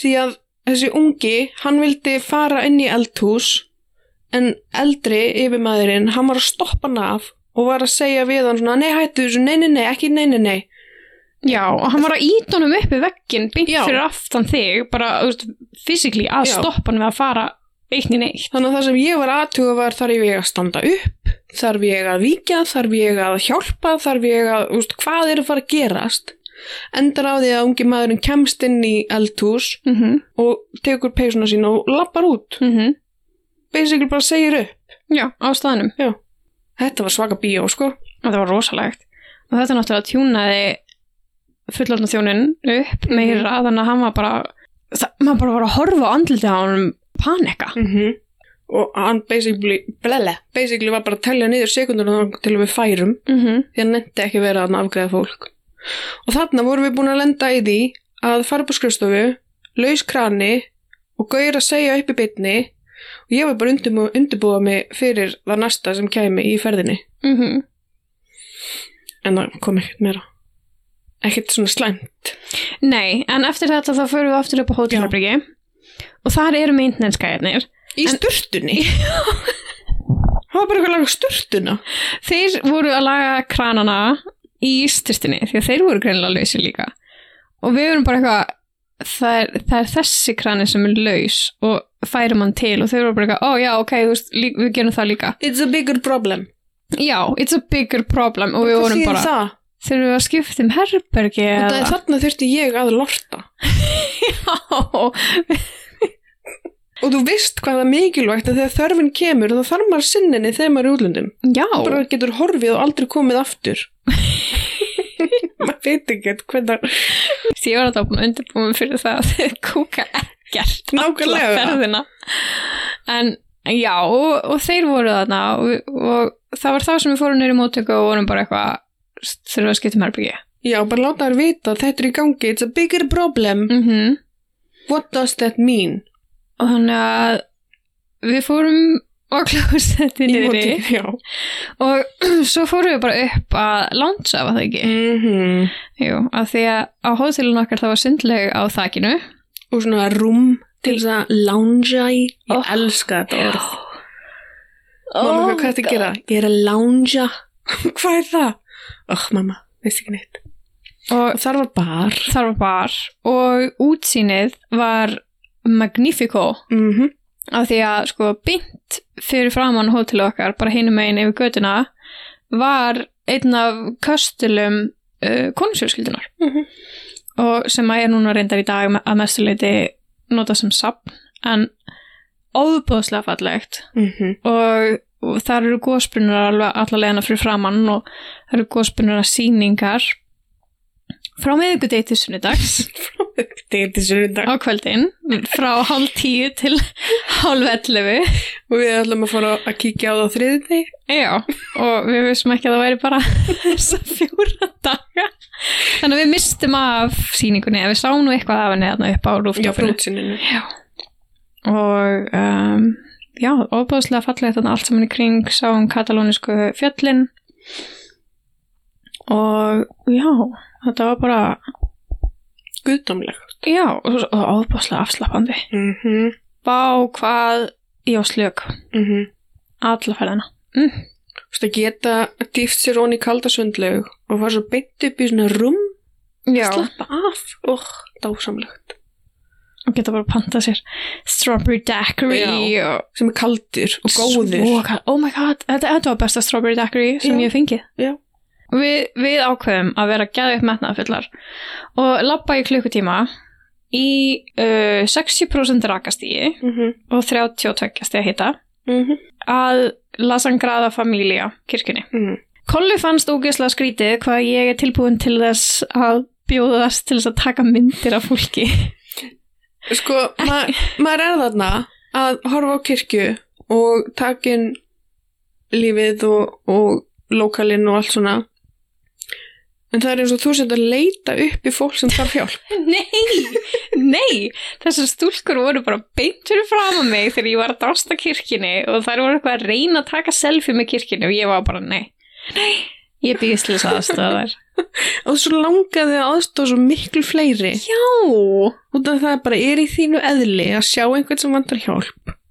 A: því að þessi ungi, hann vildi fara inn í eldhús en eldri yfirmaðurinn, hann var að stoppa hann af og var að segja við hann svona nei hættu þessu, nei nei nei, ekki nei nei nei
B: Já, og hann var að íta honum upp í veggin, beint
A: Já.
B: fyrir aftan þig, bara, þú veist, fysikli að
A: Já.
B: stoppa hann við að fara eitt í neitt.
A: þannig að það sem ég var aðtuga var þarf ég að standa upp þarf ég að víkja, þarf ég að hjálpa þarf ég að, úst, hvað er að fara að gerast endar á því að ungi maðurinn kemst inn í eldhús
B: Mm -hmm.
A: og tekur peysuna sína og lappar út
B: mhm.
A: basically bara segir upp.
B: Já, á staðnum.
A: Þetta var svaka bíó, sko.
B: Og það var rosalegt. Og þetta náttúrulega tjúnaði fullorðna þjónin upp meira, þannig að hann var bara, það, maður bara var að horfa á andlitið á honum panika.
A: Mm -hmm. Og hann basically, blele, basically var bara að telja niður sekundurna til við færum
B: Mm -hmm.
A: því hann nefndi ekki vera að afgreða fólk. Og þarna vorum við búin að lenda í því að fara upp á skrifstofu, laus krani og gauðir að segja upp í bytni og ég var bara undirbúa, undirbúa mig fyrir það næsta sem kæmi í ferðinni.
B: Mm
A: En það kom ekkert meira. Ekkert svona slæmt.
B: Nei, en eftir þetta þá förum við aftur upp á hótelherbyggi og þar eru meintnenskæðinir
A: Í
B: En-
A: sturtunni? Það var bara eitthvað laga sturtuna.
B: Þeir voru að laga kranana í styrstinni því að þeir voru greinilega lausir líka og við vorum bara eitthvað það er, það er þessi krani sem er laus og færum hann til og þeir voru bara eitthvað, ó já, ok, þú veist, lí- við gerum það líka
A: It's a bigger problem.
B: Já, it's a bigger problem og við
A: Hvað
B: vorum
A: þýðir
B: bara,
A: það?
B: þeir eru að skipta um herbergi
A: Og það er
B: eða
A: þarna þurfti ég að lorta.
B: Já,
A: Og þú veist hvað það er mikilvægt að þegar þörfin kemur þá þarf maður sinninni þegar maður er í útlöndum.
B: já
A: Bara getur horfið og aldrei komið aftur. maður veit ekkert hvernig það...
B: Því ég var alltaf búin að undirbúa mig fyrir það að þið kúka ekkert alla
A: Nákvæmlega.
B: ferðina. En en já, og, og þeir voru þarna og, og það var þá sem við fórum neyri móttöku og vorum bara eitthvað þurfum við að skipta um herbyggi.
A: Já, bara láta þær vita að þetta er í gangi, it's a bigger problem.
B: Mm
A: What does that mean?
B: Og þannig að við fórum á
A: Í
B: klósetti niðri
A: móti- já.
B: og svo fórum við bara upp að lánsa, var það ekki?
A: Mm
B: Jú, af því að á hótelun okkar það var sundleg á þakinu.
A: Og svona rúm til þess að loungea í. Ég
B: Oh.
A: elska þetta orð.
B: Oh
A: mamma, hvað er þetta að gera? Ég er að loungea. hvað er það? Oh, mamma, veist ekki neitt.
B: Og
A: Og þar var bar.
B: þar var bar og útsýnið var Magnifico
A: Mm -hmm.
B: af því að sko bynt fyrir framann hótel okkar, bara hinum megin yfir götuna var einn af köstulum uh, konusjölskyldunar
A: Mhm.
B: og sem að er núna reyndar í dag me- að mestuleiti nota sem sapn en óbúðslega fallegt
A: Mhm.
B: og, og þar eru góðspunnar alveg alla leiðina fyrir framann og það eru góðspunnar að sýningar frá miðugudegi til sunnudags
A: Þetta er til sunnudag.
B: á kvöldin frá hálf tíu til hálf ellefu
A: Og við ætlum að fara að kíkja á það á þriðið þig.
B: Já, og við vissum ekki að það væri bara þessa fjóra daga. Þannig að við mistum af síningunni, en við sáum nú eitthvað af henni þarna upp á
A: Já,
B: rúftofinu.
A: brútsininu.
B: Og um, já, óbúðslega fallegt þarna allt saman í kring, sáum katalónisku fjöllin. Og já, þetta var bara,
A: Guðdómleg.
B: já, og, og óbúðslega afslappandi.
A: Mm -hmm.
B: Bá hvað ég á slök,
A: Mm -hmm.
B: alla ferðina.
A: Þú veist að geta dýft sér onni í kalda sundlaug og fara svo beint upp í svona rúm slappa af og dásamlegt
B: Og geta bara pantað sér strawberry daiquiri og
A: sem er kaldur og góður
B: Svo kal- oh my god, þetta, þetta var besta strawberry daiquiri sem
A: Já.
B: ég hef fengið.
A: Já.
B: Við, við ákveðum að vera gæðu upp metnaðfullar og labba í klukkutíma í uh, 60% rakastíi
A: mm -hmm.
B: og 32 stíi hita
A: Mm
B: að lasangraða família kirkjunni.
A: mm.
B: Kolli fannst ógeðslega skrítið hvað ég er tilbúin til þess að bjóðast til þess að taka myndir af fólki.
A: Sko, ma maður er þarna að horfa á kirkju og takin lífið og, og lokalinn og allt svona en það er eins og þú sett að leita upp í fólk sem þarf hjálp
B: Nei, nei, þessar stúlkur voru bara beint fyrir fram að mig þegar ég var að drásta kirkjunni og þær voru eitthvað að reyna að taka selfie með kirkjunni og ég var bara nei, nei, ég býðist til þess aðstöða þær.
A: og svo langaði að aðstofa svo miklu fleiri
B: Já,
A: út af það bara er í þínu eðli að sjá einhvern sem vantar hjálp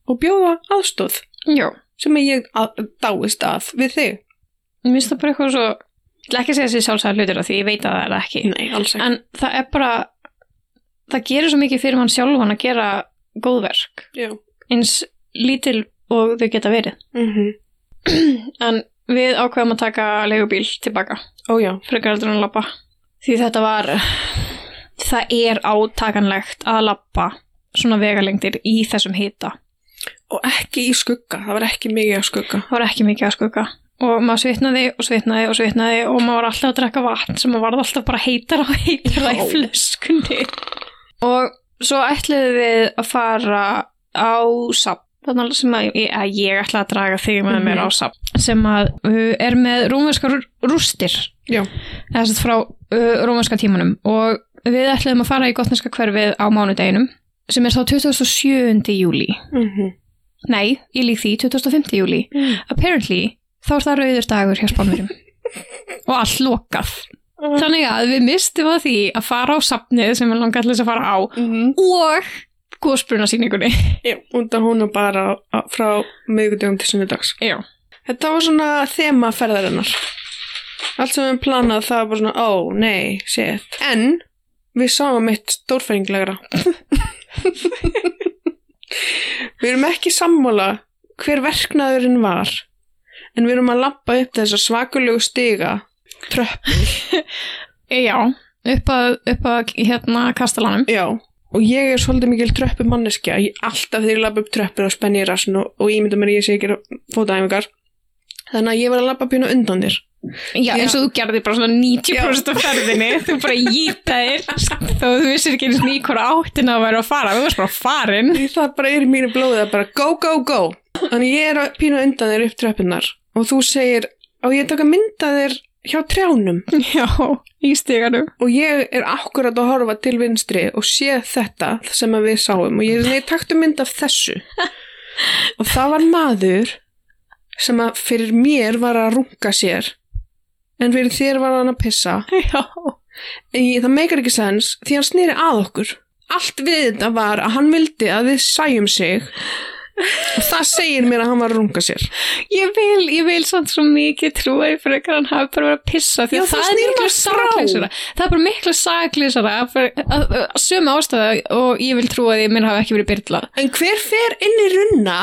A: og bjóða aðstóð
B: já,
A: sem ég að, dáist að við þig.
B: mér finnst það bara eitthvað svo, ég ætla ekki að segja þessi sjálfsæða hlutir á því ég veit að það er það ekki.
A: Nei, alls ekki.
B: En það er bara, það gerir svo mikið fyrir mann sjálfan að gera góðverk
A: Já.
B: eins lítil og þau geta verið.
A: Mm -hmm.
B: En við ákveðum að taka leigubíl tilbaka.
A: Ó já.
B: frekar heldur en að lappa því þetta var það er átakanlegt að lappa svona vegalengdir í þessum hita
A: Og ekki í skugga, það var ekki mikið að skugga.
B: það var ekki mikið að skugga og maður svitnaði og svitnaði og svitnaði og maður var alltaf að drekka vatn sem maður varð alltaf bara heitar og heitar í
A: Já.
B: flöskunni og svo ætluðum við að fara á SAP þannig sem að ég, að ég ætla að draga þig með mér á
A: Mhm.
B: SAP sem að uh, er með rúmverskar rústir
A: Já.
B: eða sett frá uh, rómanska tímanum og við ætluðum að fara í gotneska hverfið á mánudeginum sem er þá 27. júli
A: Mm -hmm.
B: nei, ég lík því 25. júli apparently þá er það rauður dagur hjá spánverjum og allt lokað þannig að við mistum að því að fara á sapnið sem við langar til þess að fara á og góðsbrunasýningunni
A: Já, út af hún er bara á- frá miðgudögum til sunnudags.
B: já,
A: Þetta var svona þema ferðarinnar. Allt sem við planað það var bara svona, ó, nei, shit. En við sáum eitt stórfæringlegra. við erum ekki sammála hver verknaðurinn var, en við erum að lappa upp þessar svakulegu stiga. Tröpp.
B: já upp að, upp að hérna kastalanum
A: Já, og ég er svolítið mikil tröppu manneskja. Ég, alltaf þegar ég lappa upp tröppur og spenni í rassin og, og ímynda mér að ég sé ekki að fótaæfingar. Þannig að ég var að lappa pínu undan þér.
B: já, eins og þú gerði bara svona 90% af ferðinni þú bara jýtaðir þó þú vissir ekki eins og í hvora áttina að vera að fara þú varst bara farin
A: Því það bara er í mínu blóði að bara go, go, go. Þannig ég er að pína undan þér upp tröppunar og þú segir, á ég að taka mynda þér hjá trjánum
B: Já, í stíganum.
A: og ég er akkurat að horfa til vinstri og sé þetta sem að við sáum og ég, ég taktu mynd af þessu og það var maður sem að fyrir mér var að runga sér en fyrir þér var hann að pissa
B: Já.
A: ég, það meikar ekki sens því hann snýri að okkur allt við þetta var að hann vildi að við sæjum sig og það segir mér að hann var að runga sér
B: Ég vil, ég vil samt svo mikið trúa í frekar hann hafi bara verið að pissa því
A: Já,
B: að
A: það
B: það, er
A: snýr
B: miklu
A: maður frá.
B: saklýsara. Það er bara miklu saklýsara að, að, að, að sömu ástæða og ég vil trúa því að minn hafi ekki verið byrla.
A: en hver fer inn í runna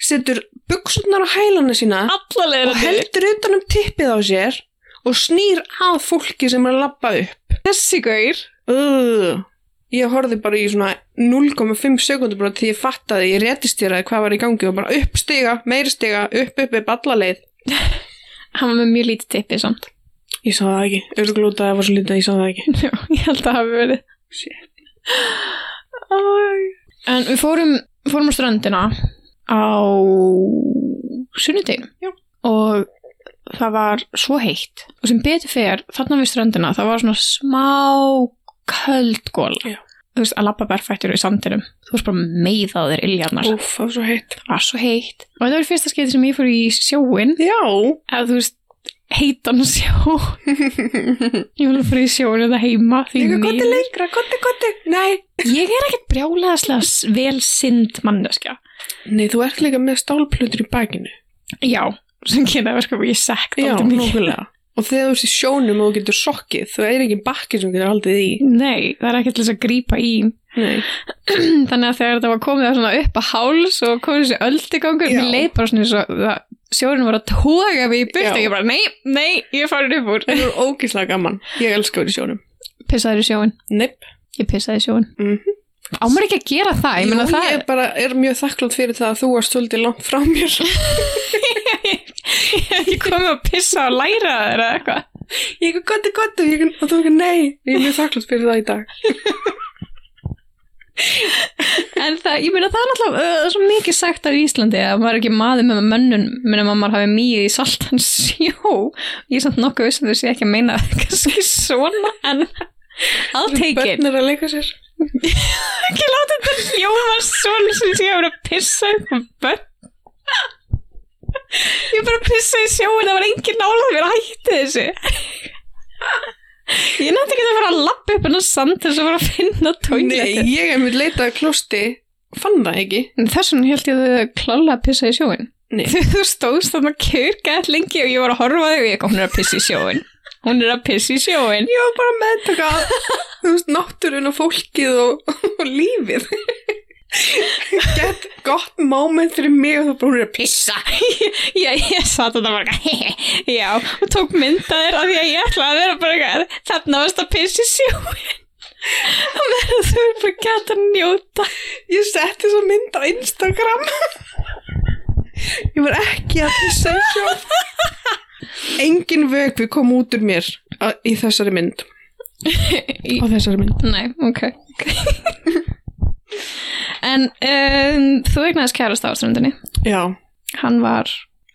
A: setur buksunar á hælana sína
B: Allalega
A: og heldur utan um tippið á sér og snýr að fólki sem er að labba upp.
B: þessi gaur.
A: Uh, ég horfði bara í svona 0,5 sekundur bara til ég fattaði, ég réttistýraði hvað var í gangi og bara upp stiga, meiri stiga, upp upp upp alla leið.
B: Hann var með mjög lítið tippið samt.
A: Ég sá það ekki, örglúta það var svo lítið að ég sá það ekki.
B: Já, ég held að það hafi verið.
A: Shit.
B: Æ. En við fórum, fórum á ströndina á sunnudeginum.
A: Já.
B: Og það var svo heitt. Og sem betur fer, þarna við ströndina, það var svona smá köld góla.
A: Já.
B: Þú veist, að labba berfættur í sandinum. Þú veist bara meiðaður iljarnar.
A: Úf, það var svo heitt.
B: Það var svo heitt. Og þetta var í fyrsta skeiti sem ég fór í sjóin.
A: Já.
B: Eða þú veist, heitan sjó. Ég vil fór í sjóin eða heima. því
A: Líka gott
B: miður.
A: er lengra, gott er gott er. Nei.
B: Ég er ekkert brjálæðaslega s- vel sind manneskja.
A: Nei, þú ert líka með stálplutur í bakinu.
B: Já, sem kynna verkum ég sekt
A: Já,
B: dálítið mikið.
A: nokkulega. Og þegar þú ert í sjónum og þú getur sokkið, þú er ekki bakki sem getur haldið í.
B: Nei, það er ekkert til þess að grípa í.
A: Nei.
B: Þannig að þegar þetta var komið það svona upp að háls og komið þessi öldigangur,
A: Já.
B: mér leið bara svona eins og það- sjórinn var að toga mig í byrtu.
A: Já.
B: Ég bara, nei, nei, ég er farin upp úr.
A: Það voru ógíslega gaman. Ég elska verið í sjónum.
B: Pissaður í sjóin.
A: Neip.
B: Ég pissaði í sjóin.
A: Mm -hmm.
B: Á maður ekki að gera það? Ég meina það
A: ég bara er mjög þakklátt fyrir það að þú varst svolítið langt frá mér.
B: ég hef ekki komið að pissa og læra þeirra eitthvað.
A: Ég ekki gott, gott og, ég, og þú ekki nei. Ég er mjög þakklátt fyrir það í dag.
B: En það, ég meina það er náttúrulega uh, það er svo mikið sagt á Íslandi að maður er ekki maður með mönnun minnum að maður hafi mýið í saltan sjó ég er samt nokkuð viss að þau sé ekki að meina það kannski svona en I'll take it
A: Börn er að leika sér.
B: ekki láta þetta hljóma svona sem sé að vera að pissa upp á börn ég bara pissa í sjóin það var engin nálað mér að hætti þessu ég nátti ekki að fara að lappa upp en að sand þess að fara að finna tónleika
A: Nei, ég er mjög leitað að klósti. Fann það ekki.
B: Þess vegna held ég að þau klála að pissa í sjóin.
A: Nei.
B: Þegar þú stóðst þarna kjörgætt lengi og ég var að horfa á þig og ég kom, hún er að pissa í sjóin. Hún er að pissa í sjóin.
A: Ég var bara að meðtaka þú veist, náttúrun og fólkið og, og lífið. Gett gott moment fyrir mig og þú bara hún er að pissa.
B: Já, ég satt þetta bara eitthvað, já, og tók myndaðir af því að ég ætlaði að vera bara eitthvað, þarna varst að pissa í sjóin. Það verður þú er bara gætt að njóta.
A: Ég setti svo mynd á Instagram Ég var ekki að pissa í sjó Engin vögvi kom út úr mér að- í þessari mynd
B: Í-
A: Á þessari mynd
B: Nei, ok. en um, þú eignast kærast áströndinni.
A: Já,
B: Hann var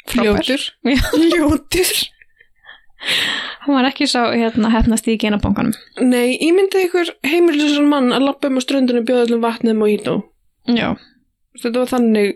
B: frábær.
A: ljótur
B: Já.
A: Ljótur
B: Hún var ekki sá hérna hefnast í genabankanum.
A: Nei, ímyndið ykkur heimilisann mann að lappa um á ströndinu og bjóða allum vatnið mojito
B: Já.
A: Þetta var þannig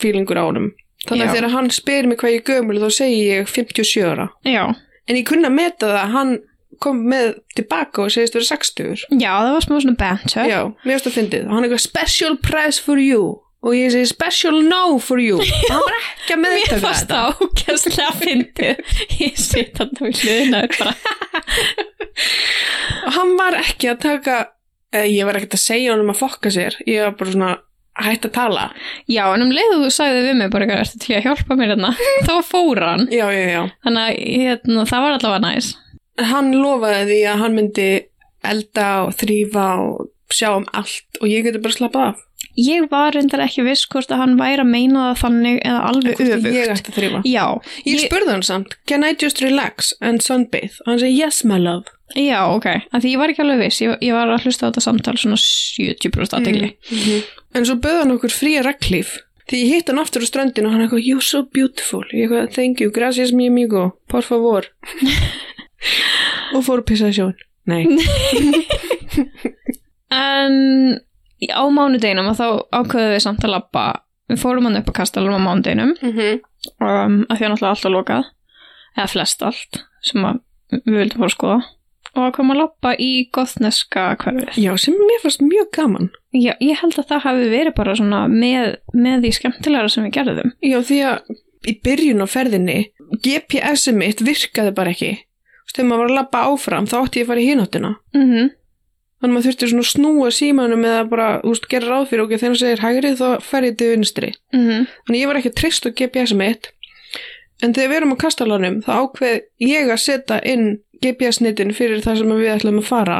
A: fílingur ánum Þannig
B: Já.
A: að þegar hann spyr mig hvað ég er gömul þá segi ég 57 ára
B: Já.
A: En ég kunna að meta það að hann kom með tilbaka og segist vera 60
B: Já, það var smá svona banter.
A: Já, mér finnst það fyndið. Hann er eitthvað special prize for you og ég segi special no for you. Og hann var ekki að
B: Mér
A: meðtaka
B: fannst
A: þetta.
B: það ákjærslega fyndið. Ég sitt hann á hliðina og bara,
A: Og hann var ekki að taka, eh, ég var ekkert að segja honum að fokka sér. Ég var bara svona að hætta að tala.
B: já, en um leiðu þú sagði við mig bara, ertu til í að hjálpa mér hérna? þá fór hann.
A: Já, já, já.
B: Þannig að hérna, það var allavega næs.
A: En Hann lofaði því að hann myndi elda og þrýfa og sjá um allt og ég geti bara slappað af.
B: Ég var reyndar ekki viss hvort að hann væri að meina það þannig eða alveg
A: Hvort
B: öfugt.
A: Ég ætti að þrýfa.
B: Já,
A: Ég spurði hann samt, can I just relax and sunbathe? Og hann segi, yes my love.
B: já, ok, að því ég var ekki alveg viss, ég, ég var að hlusta á þetta samtal svona 70% aðtegli.
A: Mhm. En svo böði hann okkur fría reglíf Því ég hitt hann aftur á ströndinu og hann eitthvað, you're so beautiful. Ég eitthvað, thank you, gracias mi amigo, por favor. og fór að pissa í sjón. Nei.
B: En í- á mánudeginum að þá ákveðum við samt að labba. Við fórum hann upp á kastalum á mánudeginum
A: Mm -hmm.
B: um, að því að náttúrulega allt var lokað. Eða flest allt sem að við vildum fóra að skoða. Og að koma að labba í gothneska hverfið.
A: Já, sem mér fannst mjög gaman.
B: Já, ég held að það hafi verið bara svona með, með því skemmtilegra sem við gerðum.
A: Já, því að í byrjun á ferðinni, GPS-ið mitt virkaði bara ekki. Þú veist, þegar maður var að labba áfram, þá átti ég að fara í hináttina.
B: Mm
A: Þannig maður þurfti svona að snúa símanum eða bara, þú veist, gera ráð fyrir okkur þegar hann segir hægrið, þá fer ég til vinstri. Þannig ég var ekki að treysta á GPS-ið mitt. En þegar við erum á kastalanum, þá ákveð ég að setja inn GPS-nitin fyrir það sem við ætlum að fara.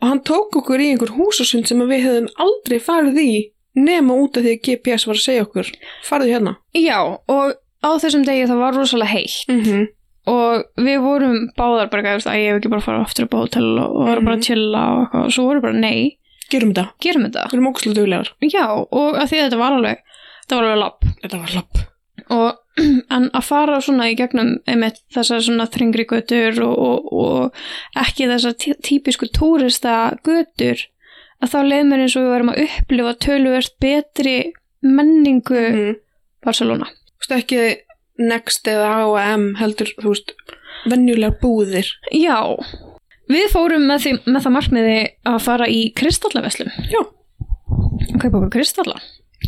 A: Og hann tók okkur í einhver húsasund sem við hefðum aldrei farið í nema út af því að GPS var að segja okkur, farðu hérna.
B: Já, og á þessum degi það var rosalega heitt.
A: Mm -hmm.
B: og við vorum báðar bara gæðist að ég hef ekki bara að fara aftur upp á hótel og, og mm. bara
A: Mhm.
B: að chilla og eitthvað og svo voru bara nei,
A: Gerum þetta.
B: gerum þetta
A: Við erum ógæslega duglegar.
B: já og að því að þetta var alveg þetta var alveg lapp
A: Þetta var lapp.
B: og en að fara svona í gegnum einmitt þessar svona þringri götur og, og, og ekki þessar tí- típisku túrista götur að þá leið mér eins og við varum að upplifa töluvert betri menningu
A: Mm -hmm.
B: Barcelona
A: Þú veist ekki Next eða H&M heldur, þú veist, venjulegar búðir.
B: Já, við fórum með, því, með það markmiði að fara í kristallaveslum.
A: Já.
B: Kaupa okkur kristalla.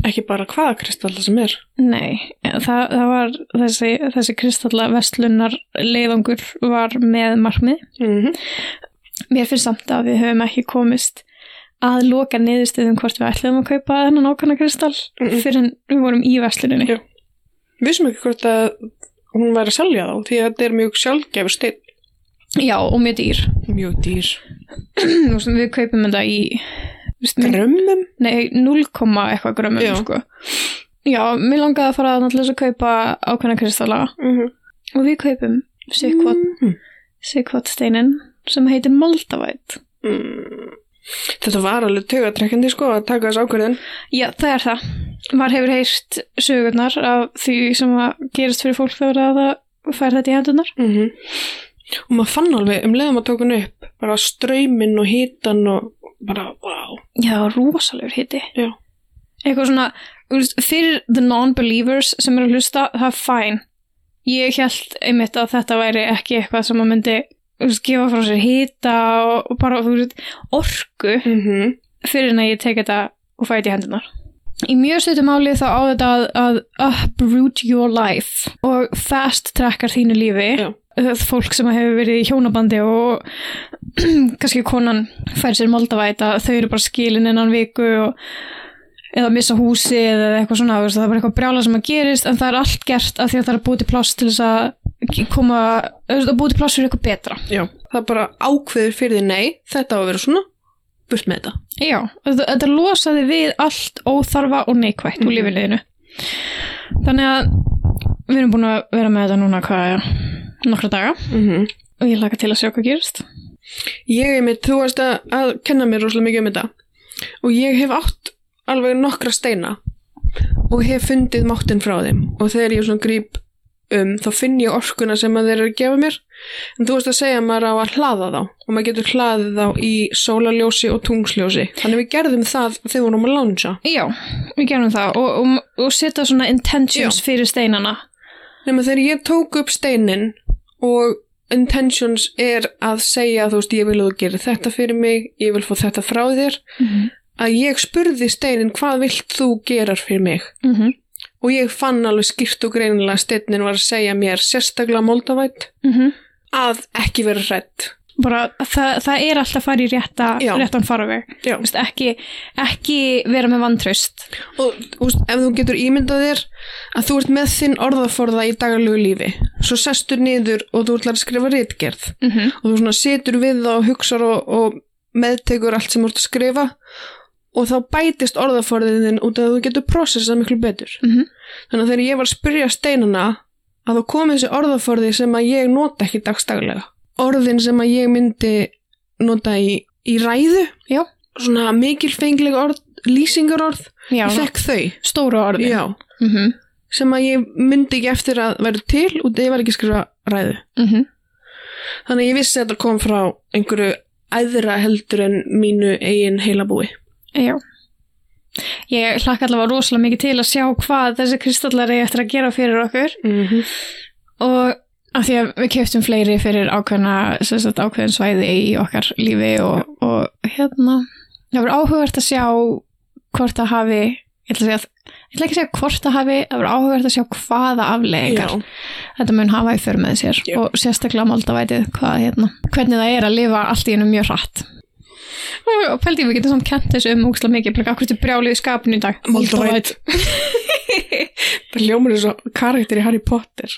A: Ekki bara hvaða kristalla sem er.
B: Nei, það, það var þessi, þessi kristallaveslunnar leiðangur var með markmið.
A: Mm
B: Mér finnst samt að við höfum ekki komist að loka niðurstöðum hvort við ætlum að kaupa þennan ákvæmna kristall
A: Mm -mm.
B: fyrir en við vorum í vesluninni.
A: Já. Vissum ekki hvort að hún væri að selja þá, því að þetta er mjög sjálfgefur stein.
B: Já, og mjög dýr.
A: Mjög dýr.
B: Þú veist, við kaupum þetta í... þú veist,
A: Grömmum?
B: Nei, 0, eitthvað grömmum,
A: Já.
B: sko. Já, mér langaði að fara að þess að kaupa ákveðna kristalla
A: Mm -hmm.
B: og við kaupum sikvot, sikvot steinin sem heitir Moldavæt.
A: Mm. Þetta var alveg tögatrekkandi sko að taka þess ákvörðin.
B: Já, það er það. Maður hefur heyrt sögurnar af því sem að gerist fyrir fólk þegar að það fær þetta í hendunar.
A: Mm -hmm. Og maður fann alveg um leiðum að tóka hann upp, bara ströyminn og hítan og bara, wow.
B: Já, rosalegur hiti.
A: Já.
B: Eitthvað svona, þú veist, fyrir the non-believers sem eru að hlusta, það er fæn. Ég held einmitt að þetta væri ekki eitthvað sem að myndi þú veist, gefa frá sér hita og, og bara þú veist, orku
A: Mm -hmm.
B: fyrir en að ég tek þetta og fæ þetta í hendunar. Í mjög stötu máli þá á þetta að, að uproot your life og fast trackar þínu lífi.
A: Já.
B: Það fólk sem hefur verið í hjónabandi og kannski konan fær sér moldavæta, þau eru bara skilin innan viku og eða missa húsi eða eitthvað svona, þú veist, það er bara eitthvað brjála sem að gerist en það er allt gert af því að það er að búið til pláss til þess að koma, þú veist, að búið til pláss fyrir eitthvað betra.
A: Já. Það er bara ákveður fyrir því nei, þetta á að vera svona, burt með þetta.
B: Já, þetta, þetta losaði við allt óþarfa og neikvætt úr
A: Mhm.
B: lífinleginu. Þannig að við erum búin að vera með þetta núna hvað er nokkra daga
A: Mm -hmm.
B: og ég laka til að sjá hvað gerist.
A: Ég er mitt, þú varst að, að kenna mér rosalega mikið um þetta og ég hef átt alveg nokkra steina og hef fundið máttinn frá þeim og þegar ég svona gríp um þá finn ég orkuna sem að þeir eru að gefa mér en þú varst að segja að maður á að hlaða þá og maður getur hlaðið þá í sólaljósi og tungsljósi þannig við gerðum það þegar við vorum að lánsa
B: Já, við gerum það og, og, og setja svona intentions fyrir steinana.
A: nema þegar ég tók upp steinin og intentions er að segja þú veist ég vil að þú gerir þetta fyrir mig ég vil fá þetta frá þér
B: Mm
A: að ég spurði steinin hvað vilt þú gerar fyrir mig
B: -hmm.
A: og ég fann alveg skýrt og greinilega að steinin var að segja mér sérstaklega moldavætt að ekki vera hrætt
B: mhm. Bara það, það er alltaf að fara í rétta,
A: Já.
B: réttan faraveg.
A: Já.
B: Þú veist, Ekki, ekki vera með vantraust.
A: og þú veist, ef þú getur ímyndað þér að þú ert með þinn orðaforða í daglegu lífi svo sestur niður og þú ætlar að skrifa rítgerð
B: Mm -hmm.
A: og þú svona situr við það og hugsar og, og meðtekur allt sem þú ert að skrifa og þá bætist orðaforðin þinn út af að þú getur prosessað miklu betur
B: Mhm.
A: þannig að þegar ég var að spyrja steinana að þá komið þessi orðaforði sem að ég nota ekki dagstaglega orðin sem að ég myndi nota í, í ræðu
B: Já.
A: svona mikilfengleg orð lýsingarorð,
B: Já,
A: ég fekk þau
B: stóru orðin.
A: já,
B: Mhm,
A: sem að ég myndi ekki eftir að vera til og ég var ekki að skrifa ræðu
B: mhm.
A: þannig að ég vissi að þetta kom frá einhverju æðra heldur en mínu eigin heilabúi
B: Já. Ég hlakka allavega rosalega mikið til að sjá hvað þessi kristallar er eftir að gera fyrir okkur
A: mm -hmm.
B: og af því að við keftum fleiri fyrir ákveðna, sem sagt, ákveðin svæði í okkar lífi og, og hérna, það voru áhugavert að sjá hvort það hafi, ég ætla að segja, ég ætla ekki að segja hvort það hafi, það voru áhugavert að sjá hvaða aflegar þetta mun hafa í för með sér
A: Já.
B: og sérstaklega maldavætið hvað hérna, hvernig það er að lifa allt í hennu mjög hratt. Og og pældi ég, við getum samt kent þessu um úkslega mikið, bara akkur til brjálið í skapinu í dag.
A: Moldavæt. Ljómar er svo karakter í Harry Potter